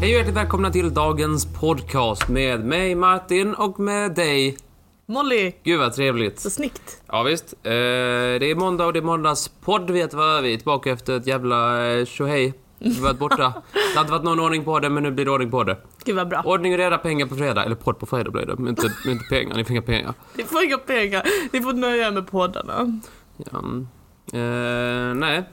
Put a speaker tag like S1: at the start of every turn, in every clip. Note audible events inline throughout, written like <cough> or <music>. S1: Hej och hjärtligt välkomna till dagens podcast med mig Martin och med dig.
S2: Molly,
S1: Gud vad trevligt.
S2: så snyggt.
S1: Ja visst. Eh, det är måndag och det är måndagspodd. Vi heter vad vi är tillbaka efter ett jävla eh, tjohej. Vi har varit
S2: <laughs>
S1: borta. Det har inte varit någon ordning på det men nu blir det ordning på det.
S2: Gud vad bra.
S1: Ordning och reda, pengar på fredag. Eller podd på fredag blir det. Men inte, men inte pengar, ni får inga pengar.
S2: Ni får inga pengar, ni får nöja er med poddarna.
S1: Ja. mm. Eh, nej.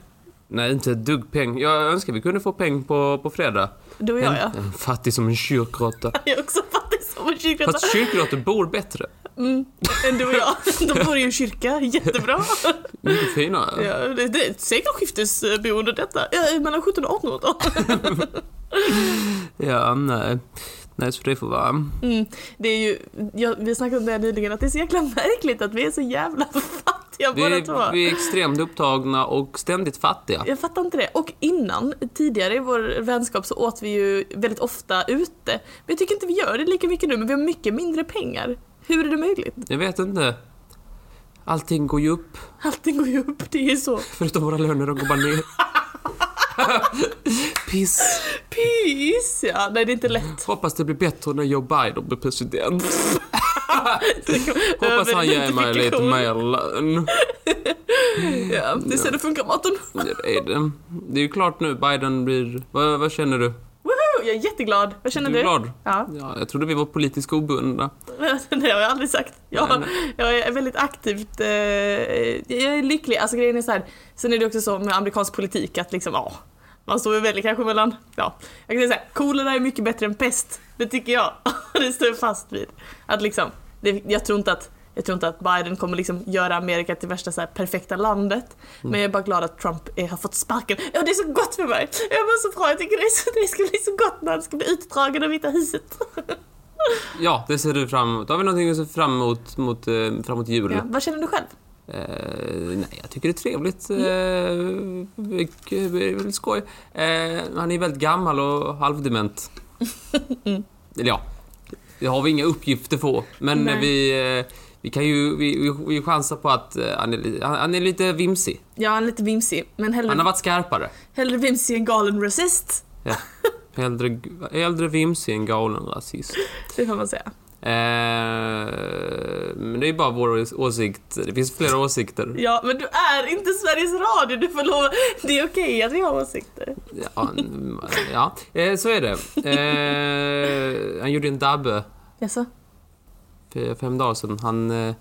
S1: Nej, inte ett dugg peng. Jag önskar vi kunde få peng på, på fredag.
S2: Du och jag ja.
S1: En, en fattig som en kyrkråtta.
S2: Jag är också fattig som en kyrkråtta.
S1: Fast kyrkråttor bor bättre.
S2: Mm, än du
S1: <laughs>
S2: och jag. De bor i en kyrka, jättebra.
S1: Mycket finare.
S2: Ja, det, det är ett sekelskiftesboende detta. Ja, mellan 17 och 1800
S1: Ja, nej. Nej, så det får vara.
S2: mm, Det är ju, ja, vi snackade om det här nyligen, att det är så jäkla märkligt att vi är så jävla <laughs> fattiga
S1: Vi,
S2: båda två.
S1: är- vi är extremt upptagna och ständigt fattiga.
S2: Jag fattar inte det. Och innan, tidigare i vår vänskap så åt vi ju väldigt ofta ute. Men jag tycker inte vi gör det lika mycket nu, men vi har mycket mindre pengar. Hur är det möjligt?
S1: Jag vet inte. Allting går ju upp.
S2: Allting går ju upp, det är ju så.
S1: Förutom våra löner, de går bara
S2: <laughs>
S1: ner. Piss.
S2: Pys! Ja, nej det är inte lätt.
S1: Hoppas det blir bättre när Joe Biden blir president. Hoppas han ger mig lite
S2: Överidentifikation.
S1: mer lön.
S2: Ja, det är så det funkar med 18.
S1: Ja, Det är, det. det är ju klart nu, Biden blir... Vad, vad känner du?
S2: Jag är jätteglad. Vad känner
S1: du
S2: du?
S1: är glad?
S2: Ja,
S1: Ja, jag trodde vi var politiskt obundna.
S2: <laughs> det har jag aldrig sagt. Jag, jag är väldigt aktivt, eh, jag är lycklig. Alltså grejen är så här, sen är det också så med amerikansk politik att liksom, ja, man står ju väldigt kanske mellan, ja. Jag kan säga så här, kolera är mycket bättre än pest. Det tycker jag. <laughs> Det står jag fast vid. Att liksom, det, jag tror inte att jag tror inte att Biden kommer liksom göra Amerika till värsta så här perfekta landet. Men jag är bara glad att Trump eh, har fått sparken. Ja, det är så gott för mig! Jag mår så bra, jag tycker det, är så, det ska bli så gott när han ska bli utdragen av Vita huset.
S1: Ja, det ser du fram emot. Har vi någonting att se fram emot mot, eh, framåt jul?
S2: Ja. Vad känner du själv?
S1: Eh, nej, jag tycker det är trevligt. Eh, det är väldigt skoj. Eh, han är väldigt gammal och halvdement. Eller ja, det har vi inga uppgifter på. Men
S2: Nej.
S1: vi, eh, vi kan ju vi, vi, vi chansar på att eh, han, är, li- han, han är lite vimsig.
S2: Ja, han är lite vimsig. Men hellre,
S1: Han har varit skarpare.
S2: hellre vimsig än galen rasist.
S1: Ja. Hellre, hellre vimsig än galen rasist.
S2: Det får man säga.
S1: Eh, men det är bara vår åsikt. Det finns flera åsikter.
S2: Ja, men du är inte Sveriges Radio, du får lov. Det är okej att vi har åsikter.
S1: Ja, n- ja. Eh, så är det. Eh, han gjorde en dabbe
S2: Jaså?
S1: för fem dagar sedan. Han... eh,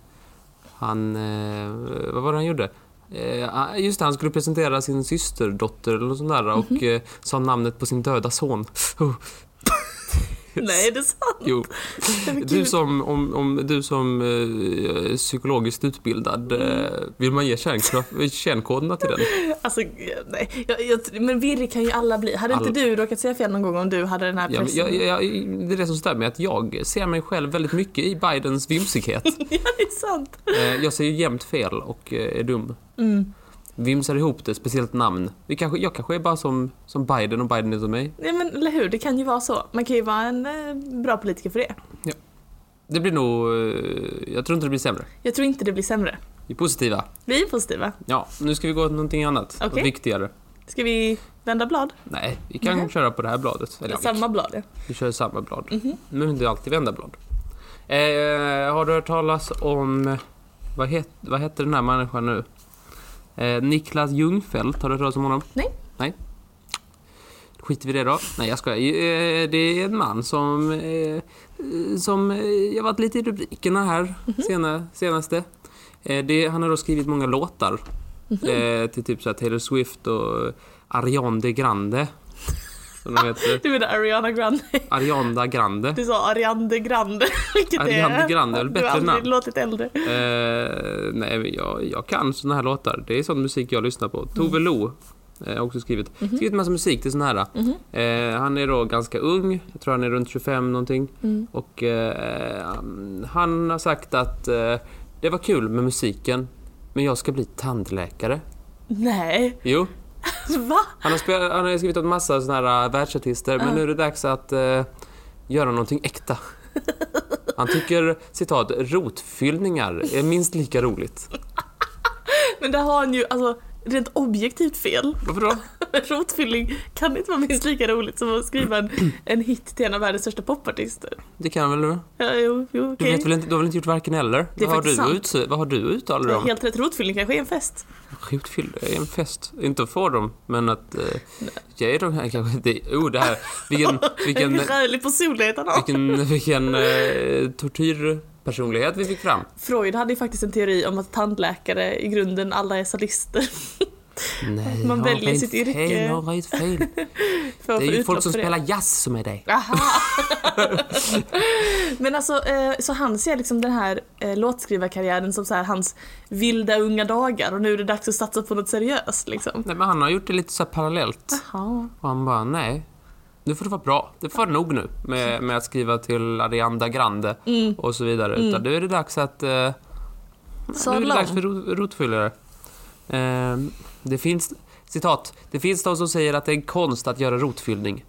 S1: han eh, vad var det han gjorde? Eh, ah, just det, han skulle presentera sin systerdotter eller något sånt där och eh, sa namnet på sin döda son. Oh,
S2: <laughs> Nej, det är sant.
S1: jo.
S2: Det var
S1: Du
S2: kul.
S1: som, om, om, du som eh, psykologiskt utbildad, eh, vill man ge kärnkraft- kärnkoderna till den?
S2: Alltså, nej. Jag, jag, men virrig kan ju alla bli. Hade
S1: Alla-
S2: inte du råkat säga fel någon gång om du hade den här
S1: Ja, men
S2: pressen?
S1: jag, jag, jag, det är det som stör mig, att jag ser mig själv väldigt mycket i Bidens vimsighet.
S2: ja, <laughs> det är sant.
S1: Eh, Jag säger jämt fel och eh, är dum.
S2: Mm.
S1: Vimsar ihop det, speciellt namn. Vi kanske, jag kanske är bara som, som Biden och Biden är som mig.
S2: Nej, men eller hur? Det kan ju vara så. Man kan ju vara en eh, bra politiker för det.
S1: Det blir nog... eh, Jag tror inte det blir sämre.
S2: Jag tror inte det blir sämre.
S1: Vi är positiva.
S2: Vi är positiva.
S1: Ja, nu ska vi gå till någonting annat.
S2: Okej.
S1: Något viktigare.
S2: Ska vi vända blad?
S1: Nej, vi kan
S2: Mhm.
S1: köra på det här bladet. Eller, ja, vi-
S2: Samma blad, ja.
S1: Vi kör samma blad. Men det är alltid vända blad. Eh, har du hört talas om... Vad, het, vad heter den här människan nu? Eh, Niklas Ljungfeldt, har du hört talas om honom?
S2: Nej.
S1: Nej. Då skiter vi i det då. Nej, jag skojar. Eh, det är en man som... Eh, eh, som eh, jag har varit lite i rubrikerna här sena, senaste. Eh, det, han har då skrivit många låtar. Eh, till typ så här Taylor Swift och Ariana de Grande. Som de heter.
S2: Du menar Ariana Grande?
S1: Arianda Grande.
S2: Du sa Ariande Grande, <laughs> vilket
S1: Ariande
S2: är...
S1: Grande, väl bättre
S2: Du har aldrig
S1: namn.
S2: låtit äldre.
S1: Eh, nej, men jag, jag kan såna här låtar. Det är sån musik jag lyssnar på. Tove Lo eh, har också skrivit. Skrivit massa musik till såna här. Eh, han är då ganska ung. Jag tror han är runt 25 någonting. Och eh, han har sagt att eh, det var kul med musiken, men jag ska bli tandläkare.
S2: Nej, <laughs>
S1: Jo,
S2: va?
S1: han har, spel- han har skrivit åt massa såna här äh, världsartister, men nu är det dags att eh, göra någonting äkta. Han tycker, citat, rotfyllningar är minst lika roligt.
S2: Men där har han ju, alltså rent objektivt fel. <laughs>
S1: Varför då?
S2: Rotfylling kan inte vara minst lika roligt som att skriva en,
S1: <clears throat>
S2: en hit till en av världens största popartister.
S1: Det kan väl du?
S2: Ja, jo, jo,
S1: Du,
S2: okej.
S1: vet väl inte, du har väl inte gjort varken eller?
S2: Det är
S1: vad, har
S2: faktiskt
S1: du ut, vad har du uttalat dig
S2: Du har
S1: om?
S2: Helt rätt, rotfyllning kanske är en fest.
S1: Sjukt fylld, det är en fest. Inte för dem, men att eh, ge dem här kanske. Det, oh, det här. Vilken,
S2: Vilken <laughs>
S1: vilken,
S2: härlig personlighet han har.
S1: vilken, vilken eh, tortyrpersonlighet vi fick fram.
S2: Freud hade ju faktiskt en teori om att tandläkare i grunden alla är sadister <laughs>
S1: Nej,
S2: Man
S1: har
S2: väljer
S1: rent
S2: sitt yrke.
S1: Fel, har rent fel.
S2: för att
S1: Det är
S2: få
S1: ju folk
S2: utlopp
S1: som
S2: för det.
S1: spelar jazz som är det.
S2: Aha. <laughs> Men alltså, eh, så han ser liksom den här eh, låtskrivarkarriären som så här, hans vilda unga dagar och nu är det dags att satsa på något seriöst liksom.
S1: Nej, men han har gjort det lite så här parallellt.
S2: Jaha.
S1: Och han bara, nej. Nu får det vara bra. Det får nog nu med, med att skriva till Arianda Grande
S2: Mm.
S1: och så vidare.
S2: Mm.
S1: Utan nu är det dags att... Eh, nu är det
S2: Sadla
S1: dags
S2: om.
S1: för rot- rotfyllare. Eh, det finns... Citat. Det finns de som säger att det är en konst att göra rotfyllning.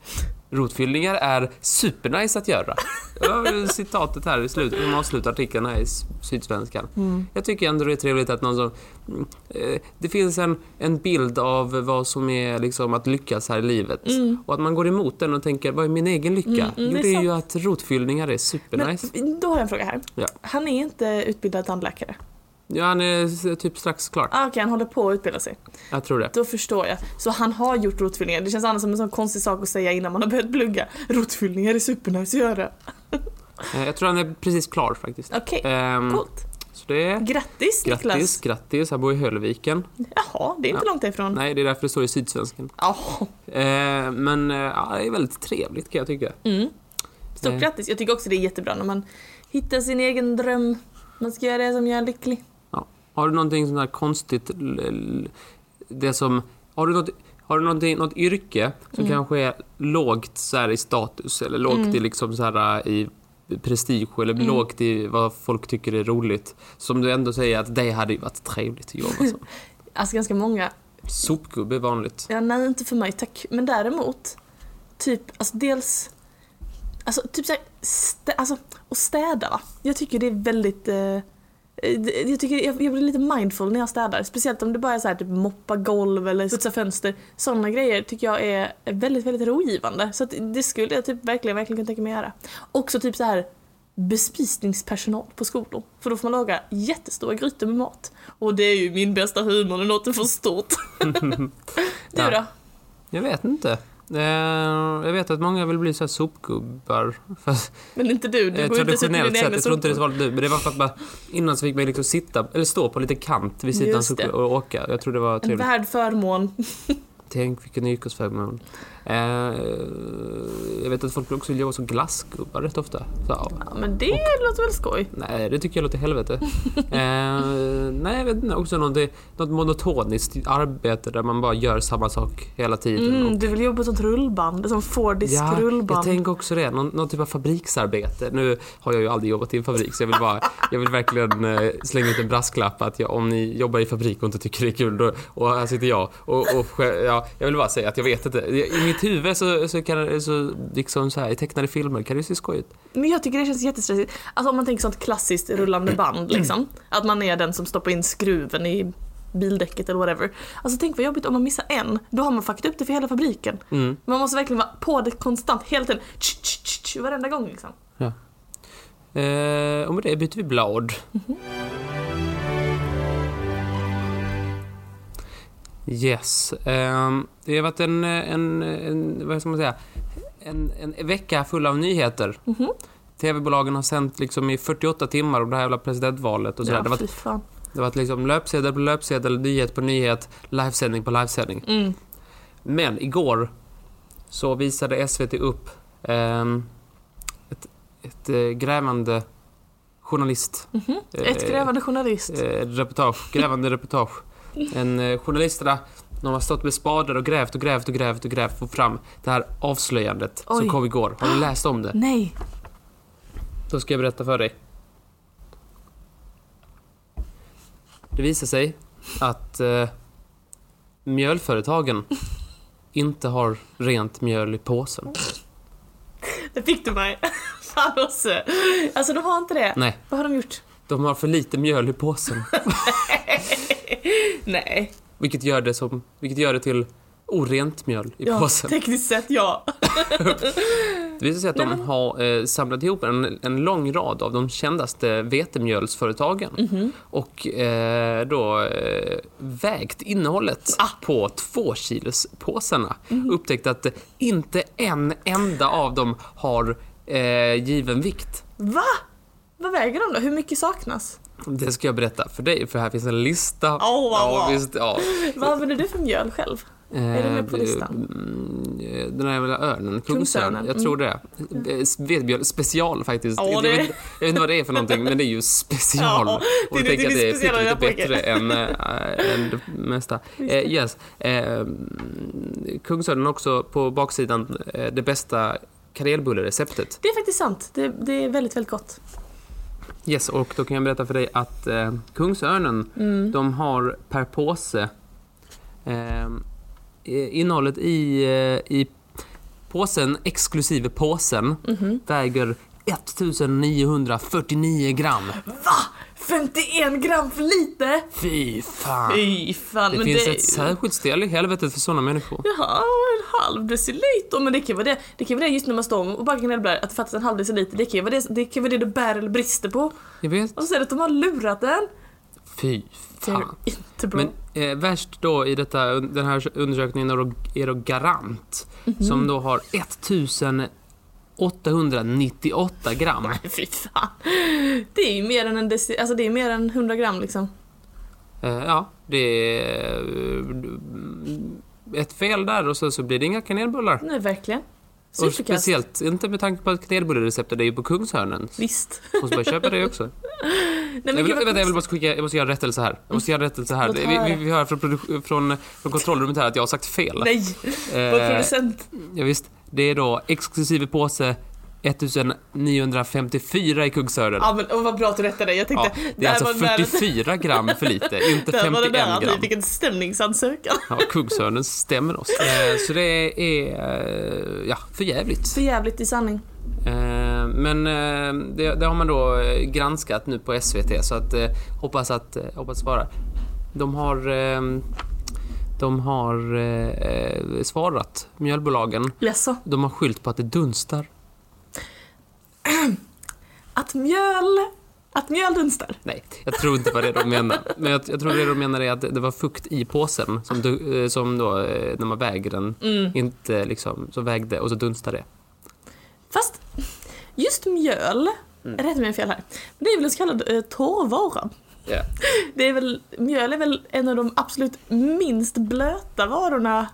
S1: Rotfyllningar är supernice att <laughs> göra. Det var Citatet här i slutet, om man avslutar artikeln här i S- Sydsvenskan.
S2: Mm.
S1: Jag tycker ändå det är trevligt att någon som... Mm, eh, Det finns en, en bild av vad som är liksom att lyckas här i livet. Och att man går emot den och tänker, vad är min egen lycka?
S2: Mm, mm,
S1: jo,
S2: det
S1: det
S2: är
S1: är, ju att rotfyllningar är
S2: Men
S1: supernice.
S2: då har jag en fråga här.
S1: Ja.
S2: Han är inte utbildad tandläkare?
S1: Ja, han är s- typ strax klar.
S2: Ah, Okej, han håller på att utbilda sig.
S1: Jag tror det.
S2: Då förstår jag. Så han har gjort rotfyllningar. Det känns annars som en sån konstig sak att säga innan man har börjat plugga. Rotfyllningar är supernice att
S1: Mm.
S2: göra.
S1: Eh, Jag tror han är precis klar faktiskt.
S2: Okej,
S1: Ehm,
S2: coolt.
S1: Så det är...
S2: Grattis
S1: Grattis,
S2: Niklas! Mm.
S1: grattis. Han bor i Höllviken.
S2: Jaha, det är inte långt ifrån.
S1: Nej, det är därför det står i Sydsvenskan.
S2: Jaha.
S1: Eh, men eh, ja, det är väldigt trevligt kan jag tycka.
S2: Mm. Stort
S1: Eh.
S2: grattis! Jag tycker också det är jättebra när man hittar sin egen dröm. Man ska göra det som gör en lycklig.
S1: Har du någonting sånt här konstigt... l- l- Det som... Har du något, har du någonting, något yrke som
S2: Mm.
S1: kanske är lågt så här, i status eller lågt
S2: Mm.
S1: i, liksom, så här, i prestige eller
S2: Mm.
S1: lågt i vad folk tycker är roligt? Som du ändå säger att det hade ju varit trevligt att jobba
S2: <laughs>
S1: som.
S2: Alltså ganska många.
S1: Sopgubbe är vanligt.
S2: Ja, nej, inte för mig tack. Men däremot, typ, alltså dels... Alltså typ såhär, stä, alltså, och städa va. Jag tycker det är väldigt... Eh, eh, det- jag, tycker, jag, jag blir lite mindful när jag städar. Speciellt om det bara är såhär typ moppa golv eller putsa fönster. Sådana grejer tycker jag är väldigt, väldigt rogivande. Så att det skulle jag typ verkligen, verkligen kunna tänka mig göra. Också typ så här bespisningspersonal på skolor. För då får man laga jättestora grytor med mat. Och det är ju min bästa humor när något är
S1: <laughs>
S2: för stort. du
S1: Ja.
S2: då?
S1: Jag vet inte. Eh, jag vet att många vill bli så här sopgubbar. Fast
S2: Men inte du, du
S1: Eh,
S2: går inte ut
S1: traditionellt
S2: med dina
S1: sett,
S2: egna
S1: jag tror inte det
S2: sopor.
S1: var du, men det var för att man, innan så fick man liksom sitta, eller stå på lite kant vid sidan
S2: Just
S1: så-
S2: det.
S1: och åka. Jag tror det var
S2: En
S1: trevligt.
S2: värd förmån.
S1: Tänk vilken yrkesförmån. Eh, jag vet att folk också vill jobba som glassgubbar rätt ofta. Så, ja.
S2: Ja, men det låter väl skoj?
S1: Nej, det tycker jag låter helvete. eh, nej, jag vet inte. Också något, något monotoniskt arbete där man bara gör samma sak hela tiden. och
S2: Mm, du vill jobba på ett sånt rullband, ett sånt Fordisk
S1: jag
S2: rullband.
S1: tänker också det. Någon, någon typ av fabriksarbete. Nu har jag ju aldrig jobbat i en fabrik så jag vill, bara, jag vill verkligen eh, slänga ut en brasklapp att jag, om ni jobbar i fabrik och inte tycker det är kul då, och här sitter jag och, och skä- ja, jag vill bara säga att jag vet inte. I mitt huvud så, så kan så, liksom så här, i tecknade filmer kan det se skoj ut.
S2: Men jag tycker det känns jättestressigt. Alltså om man tänker sånt klassiskt rullande band liksom. Att man är den som stoppar in skruven i bildäcket eller whatever. Alltså tänk vad jobbigt om man missar en. Då har man fuckat upp det för hela fabriken.
S1: Mm.
S2: Man måste verkligen vara på det konstant, hela tiden. Tsch, tsch, tsch, tsch, varenda gång liksom.
S1: Eh, och med det byter vi blad. Yes. ehm, det har varit en, en, en, vad ska man säga, en, en vecka full av nyheter.
S2: Mhm.
S1: TV-bolagen har sänt liksom i 48 timmar om det här jävla presidentvalet och sådär.
S2: Ja,
S1: det har
S2: fy
S1: varit,
S2: fan.
S1: det har varit liksom löpsedel på löpsedel, nyhet på nyhet, livesändning på livesändning.
S2: Mm.
S1: Men igår så visade SVT upp ehm, ett, ett eh, grävande journalist.
S2: Mhm.
S1: eh,
S2: Ett grävande journalist.
S1: eh, reportage, grävande reportage. En eh, journalisterna, de har stått med spadar och grävt och grävt och grävt och grävt för att få fram det här avslöjandet
S2: Oj.
S1: som kom igår. Har du läst om det?
S2: Nej.
S1: Då ska jag berätta för dig. Det visar sig att eh, mjölföretagen inte har rent mjöl i påsen.
S2: Det fick du mig. <laughs> Fan också. Alltså de har inte det.
S1: Nej,
S2: Vad har de gjort? <laughs>
S1: de har för lite mjöl i påsen.
S2: Nej.
S1: Vilket gör det, som, vilket gör det till orent mjöl i
S2: ja,
S1: påsen.
S2: tekniskt sett ja.
S1: Det visar sig att de har eh, samlat ihop en, en lång rad av de kändaste vetemjölsföretagen
S2: Mhm.
S1: och eh, då eh, vägt innehållet
S2: Ah.
S1: på tvåkilospåsarna.
S2: Mhm.
S1: Upptäckt att eh, inte en enda av dem har eh, given vikt.
S2: Va? Vad väger de då? Hur mycket saknas?
S1: Det ska jag berätta för dig, för här finns en lista.
S2: Åh, vad
S1: ja,
S2: bra.
S1: visst, ja.
S2: Vad använder du för mjöl själv? Är det med på
S1: Eh,
S2: listan?
S1: mm, eh, Den här jävla örnen,
S2: Kungsörnen,
S1: kungsörnen. Jag tror det. Eh, Vetemjöl special faktiskt.
S2: mm. Ja,
S1: jag,
S2: det-
S1: vet, inte- jag vet inte vad det är för någonting, men det är ju special.
S2: Ja,
S1: och
S2: det-
S1: jag
S2: det-
S1: tänker
S2: det
S1: att det
S2: är
S1: är
S2: speciella
S1: lite
S2: rapporter.
S1: bättre än, äh, än det
S2: <laughs>
S1: mesta. Eh, yes. Eh, mm, kungsörnen har också på baksidan eh, det bästa kanelbullereceptet.
S2: Det är faktiskt sant. Det, det är väldigt, väldigt gott.
S1: Yes, och då kan jag berätta för dig att eh, Kungsörnen,
S2: Mm.
S1: de har per påse eh, innehållet i, eh, i påsen, exklusive påsen,
S2: Mhm.
S1: väger 1949 gram.
S2: Va? 51 gram för lite?
S1: Fy fan!
S2: Fy fan.
S1: Det
S2: men
S1: finns
S2: det
S1: ett särskilt ställe i helvetet för sådana människor.
S2: Jaha, en halv deciliter. Men det kan ju vara det, det, kan ju vara det just när man står och bakar kanelbullar, att det fattas en halv deciliter. Det kan ju vara det det, kan ju vara det du bär eller brister på.
S1: Jag vet.
S2: Och sen att de har lurat den.
S1: Fy
S2: Det är
S1: fan.
S2: inte bra.
S1: Men eh, värst då i detta, den här undersökningen är då, är då Garant
S2: Mhm.
S1: som då har 1898 gram.
S2: Fy fan. Det är ju mer än en deci- alltså det är mer än 100 gram liksom.
S1: Eh, Ja, det är eh, ett fel där och så, så blir det inga kanelbullar.
S2: Nej, verkligen.
S1: Och
S2: Superkast.
S1: speciellt inte med tanke på att kanelbullereceptet är ju på
S2: <laughs>
S1: Kungshörnen.
S2: Visst.
S1: Måste bara köpa det också.
S2: Nej,
S1: jag,
S2: gud,
S1: vill,
S2: vad
S1: vänta, jag vill bara skicka, jag måste göra rättelse här. Jag måste göra rättelse här.
S2: Låt
S1: Vi,
S2: höra.
S1: vi, vi hör från, produ- från, från kontrollrummet här att jag har sagt fel.
S2: konstigt. Nej, vår
S1: Eh,
S2: producent.
S1: ja, visst, det är då exklusive påse 1954 i Kungshörnen.
S2: Ja men och vad bra att du rättade dig. Jag
S1: Ja,
S2: tänkte,
S1: det är
S2: där
S1: alltså
S2: var nära-
S1: 44 gram för lite, inte
S2: <laughs> där var det
S1: 51
S2: där att
S1: gram.
S2: vi fick en stämningsansökan.
S1: Ja, Kungsörnen
S2: <laughs>
S1: stämmer oss. Eh, Så det är, eh, ja, för jävligt.
S2: För jävligt i sanning.
S1: Eh, Men eh, det, det har man då eh, granskat nu på SVT, så att eh, hoppas att, eh, hoppas svara. De har, eh, de har eh, eh, svarat, mjölbolagen.
S2: Jaså?
S1: De har skylt på att det dunstar.
S2: Att mjöl... Att mjöl dunstar.
S1: Nej, jag tror inte vad det är de menar. Men jag, jag tror det de menar är att det var fukt i påsen som, du, eh, som då, eh, när man väger den,
S2: Mm.
S1: inte liksom, så vägde och så dunstar det.
S2: Fast just mjöl, rätta mig om jag har fel här, men det är väl en så kallad eh, torrvara.
S1: Yeah.
S2: <laughs> Det är väl, mjöl är väl en av de absolut minst blöta varorna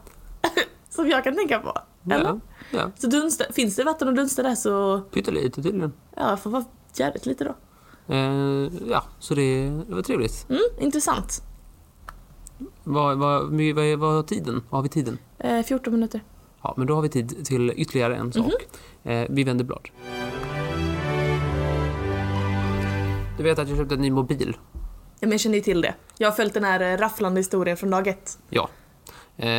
S2: <laughs> som jag kan tänka på. Eller?
S1: Ja, ja.
S2: Så dunsta, finns det vatten och dunsta där så,
S1: Pyttelite tydligen.
S2: ja, får vara jävligt lite då.
S1: Eh, ja, så det, det var trevligt.
S2: Mm, intressant.
S1: Vad, vad, my- vad, är- vad har tiden? Vad har vi tiden?
S2: Eh, 14 minuter.
S1: Ja, men då har vi tid till ytterligare en sak.
S2: Mhm.
S1: eh, vi vänder blad. Du vet att jag köpte en ny mobil?
S2: Ja, men jag känner ju till det. Jag har följt den här eh, rafflande historien från dag ett.
S1: Ja. Eh,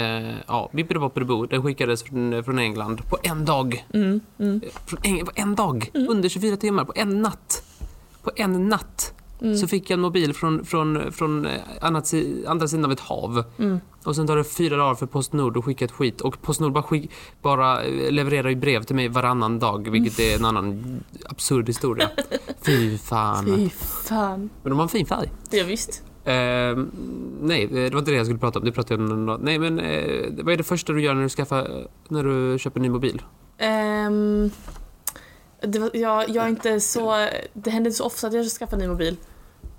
S1: ja, Bippidi-Boppidi-Bo, den skickades från, från England på en dag.
S2: Mm, mm.
S1: Eh, Från Eng- på en dag! Under 24 timmar, på en natt. På en natt så fick jag en mobil från, från, från eh, annat, si- andra sidan av ett hav. Och sen tar det fyra dagar för Postnord att skicka ett skit. Och Postnord bara, skick, bara eh, levererar ju brev till mig varannan dag, vilket är en annan absurd historia. Fy fan.
S2: Fy fan.
S1: Men de har en fin färg.
S2: Ja, visst.
S1: Eh, nej, eh, det var inte det jag skulle prata om. Det pratade jag om någon, Nej, men eh, vad är det första du gör när du, skaffar, när du köper en ny mobil?
S2: Ehm, det var, jag, jag är inte så, det hände inte så ofta att jag skaffade en ny mobil.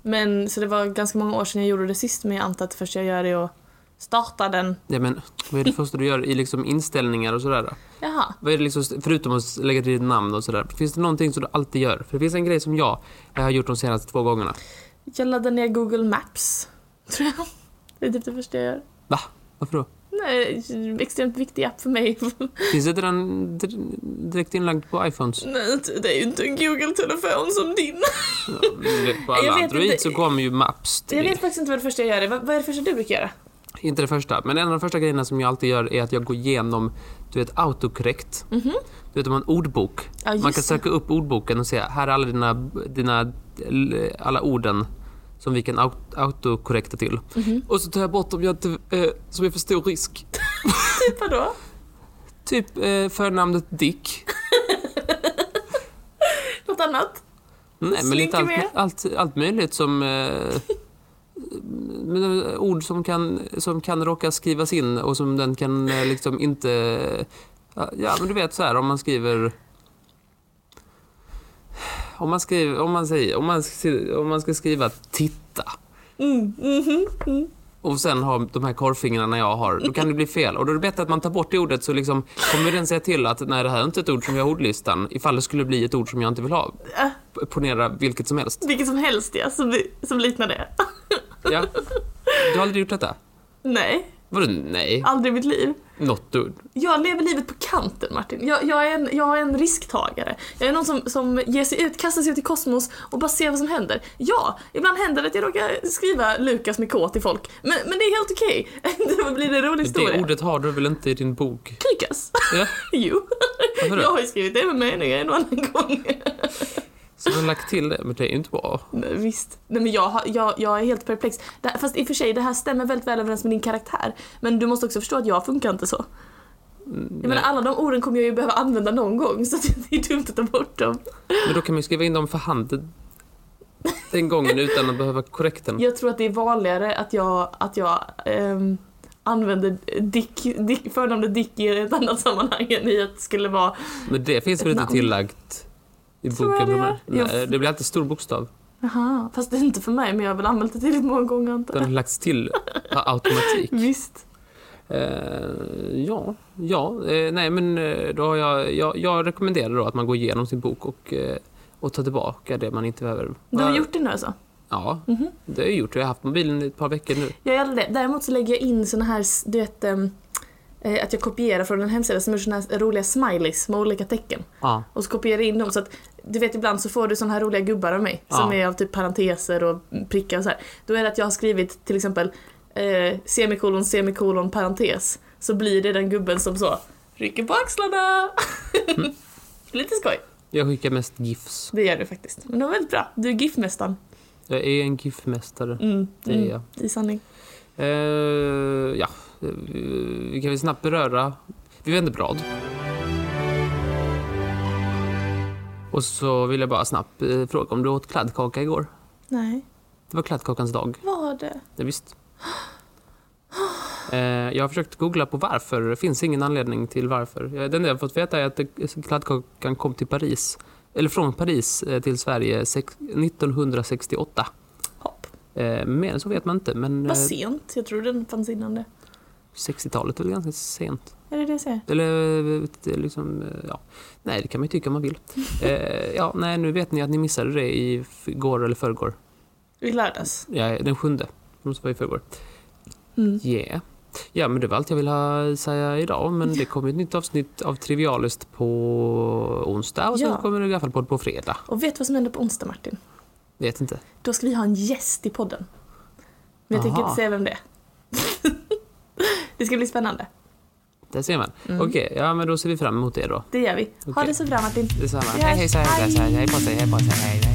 S2: Men, så det var ganska många år sedan jag gjorde det sist, men jag antar att det första jag gör är att starta den.
S1: Ja, men, vad är det första du gör i liksom inställningar och sådär?
S2: Jaha.
S1: Vad är det liksom, förutom att lägga till ditt namn och sådär. Finns det någonting som du alltid gör? För det finns en grej som jag eh, har gjort de senaste två gångerna.
S2: Jag laddar ner Google Maps, <laughs> tror jag. Det är typ det första jag gör.
S1: Va? Varför då?
S2: Nej, extremt viktig app för mig.
S1: Finns inte den dir- direkt inlagd på iPhones?
S2: <laughs> Nej, det är ju inte en Google-telefon som din.
S1: På
S2: Jag
S1: alla
S2: vet
S1: Android
S2: inte.
S1: så kommer ju Maps till
S2: Jag
S1: det.
S2: vet faktiskt inte vad det första jag gör är. Vad, vad är det första du brukar göra?
S1: Inte det första, men en av de första grejerna som jag alltid gör är att jag går igenom, du vet, autokorrekt. Du vet, om man har en ordbok.
S2: Ja,
S1: Man kan
S2: Mhm. just det.
S1: söka upp ordboken och se, här är alla dina, dina alla orden som vi kan aut- autokorrekta till.
S2: Mhm.
S1: Och så tar jag bort om jag inte, eh, som är för stor risk.
S2: Typ vadå?
S1: Typ eh, förnamnet Dick.
S2: Något annat?
S1: Nej, men lite
S2: Slinker
S1: allt,
S2: med.
S1: allt, allt möjligt som... Eh, men, eh, ord som kan, som kan råka skrivas in och som den kan eh, liksom inte... Ja, men du vet så här om man skriver... Om man skriver, om man säger, om man, skri- om man ska skriva titta
S2: Mm, mhm, mm.
S1: och sen har de här korvfingrarna jag har, då kan det bli fel. Och då är det bättre att man tar bort det ordet så liksom kommer den säga till att nej, det här är inte ett ord som vi har i ordlistan ifall det skulle bli ett ord som jag inte vill ha.
S2: Äh,
S1: P- Ponera vilket som helst.
S2: vilket som helst ja, som, som liknar det.
S1: Ja. Du har aldrig gjort detta?
S2: Nej,
S1: Vadå nej?
S2: aldrig i mitt liv.
S1: Något ord?
S2: Jag lever livet på kanten Martin. Jag, jag, är, en, jag är en risktagare. Jag är någon som, som ger sig ut, kastar sig ut i kosmos och bara ser vad som händer. Ja, ibland händer det att jag råkar skriva Lukas med K till folk. Men, men det är helt okej. <laughs> Då blir det en rolig historia.
S1: Det ordet har du väl inte i din bok?
S2: Lukas? <laughs>
S1: Ja,
S2: Jo.
S1: varför
S2: Jag
S1: då?
S2: har ju skrivit det med meningar en och annan gång.
S1: Så du har lagt till det, men det är ju inte bra.
S2: Nej, visst. Nej, men jag, har- jag, jag är helt perplex. Det, här- fast i och för sig, det här stämmer väldigt väl överens med din karaktär. Men du måste också förstå att jag funkar inte så.
S1: Mm,
S2: Jag menar, alla de orden kommer jag ju behöva använda någon gång, så <laughs> att det är dumt att ta bort dem.
S1: Men då kan man ju skriva in dem för hand den gången utan att behöva korrekten.
S2: Jag tror att det är vanligare att jag, att jag ehm, använder Dick, Dick, förnamnet Dick i ett annat sammanhang än i att det skulle vara...
S1: Men det finns väl inte
S2: Namn.
S1: tillagt i
S2: Tror
S1: boken?
S2: jag det
S1: från mig?
S2: gör.
S1: Nej, det blir alltid stor bokstav.
S2: Jaha, fast det är inte för mig, men jag har väl använt det tillräckligt många gånger antar
S1: Den
S2: jag.
S1: har lagts till per automatik.
S2: Visst.
S1: Eh, ja, ja eh, nej men eh, då har jag, jag, jag rekommenderar då att man går igenom sin bok och, eh, och tar tillbaka det man inte behöver.
S2: Du har
S1: Var-
S2: gjort det nu alltså?
S1: Ja,
S2: Mhm.
S1: det har jag gjort. Jag har haft mobilen i ett par veckor nu.
S2: Jag gör det. Däremot så lägger jag in såna här, du vet, ehm, eh, att jag kopierar från en hemsida som är såna här roliga smileys med olika tecken.
S1: Ja,
S2: Och så kopierar jag in dem så att, du vet ibland så får du såna här roliga gubbar av mig. Som
S1: Ja.
S2: är av typ parenteser och prickar och så här. Då är det att jag har skrivit till exempel eh, semikolon, semikolon, parentes. Så blir det den gubben som så rycker på axlarna.
S1: Mm.
S2: <laughs> Lite skoj.
S1: jag skickar mest GIFs.
S2: Det gör du faktiskt. Men det var väldigt bra. Du är GIF-mästaren.
S1: Jag är en GIF-mästare.
S2: Mm,
S1: Det är
S2: mm,
S1: jag.
S2: I sanning.
S1: Eh, ja, eh, vi kan väl snabbt beröra... Vi vänder blad. Och så vill jag bara snabbt eh, fråga om du åt kladdkaka igår?
S2: Nej.
S1: Det var kladdkakans dag.
S2: Var det?
S1: Ja, visst. Eh, jag har försökt googla på varför. Det finns ingen anledning till varför. Eh, Det enda jag har fått veta är att det- kladdkakan kom till Paris, eller från Paris eh, till Sverige sex- 1968.
S2: Hopp.
S1: Eh, mer än så vet man inte, men eh,
S2: Vad sent. Jag tror den fanns innan det.
S1: 60-talet är väl ganska sent.
S2: Är det det jag säger?
S1: Eller eh, det är liksom, eh, ja. Nej, det kan man ju tycka om man
S2: <laughs>
S1: vill. Eh, ja, nej, nu vet ni att ni missade det i f- går eller förrgår.
S2: I lördags.
S1: Ja, den sjunde. Det måste vara i förrgår.
S2: Mm.
S1: Yeah. Ja, men det var allt jag ville säga idag. Men det kommer ett nytt avsnitt av Trivialist på onsdag och sen
S2: Ja.
S1: kommer det i alla fall på, på fredag.
S2: Och vet du vad som händer på onsdag Martin?
S1: Vet inte.
S2: Då ska vi ha en gäst i podden. Men jag tänker
S1: Aha.
S2: inte säga vem det är. <laughs> det ska bli spännande.
S1: Där ser man. Okej, ja men då ser vi fram emot det då.
S2: Det gör vi. Ha
S1: Okej.
S2: det så bra Martin.
S1: Detsamma.
S2: Vi
S1: Hej
S2: hörs.
S1: hejsan, hejsan,
S2: Hej.
S1: hej på sig, hej på sig, hej hej.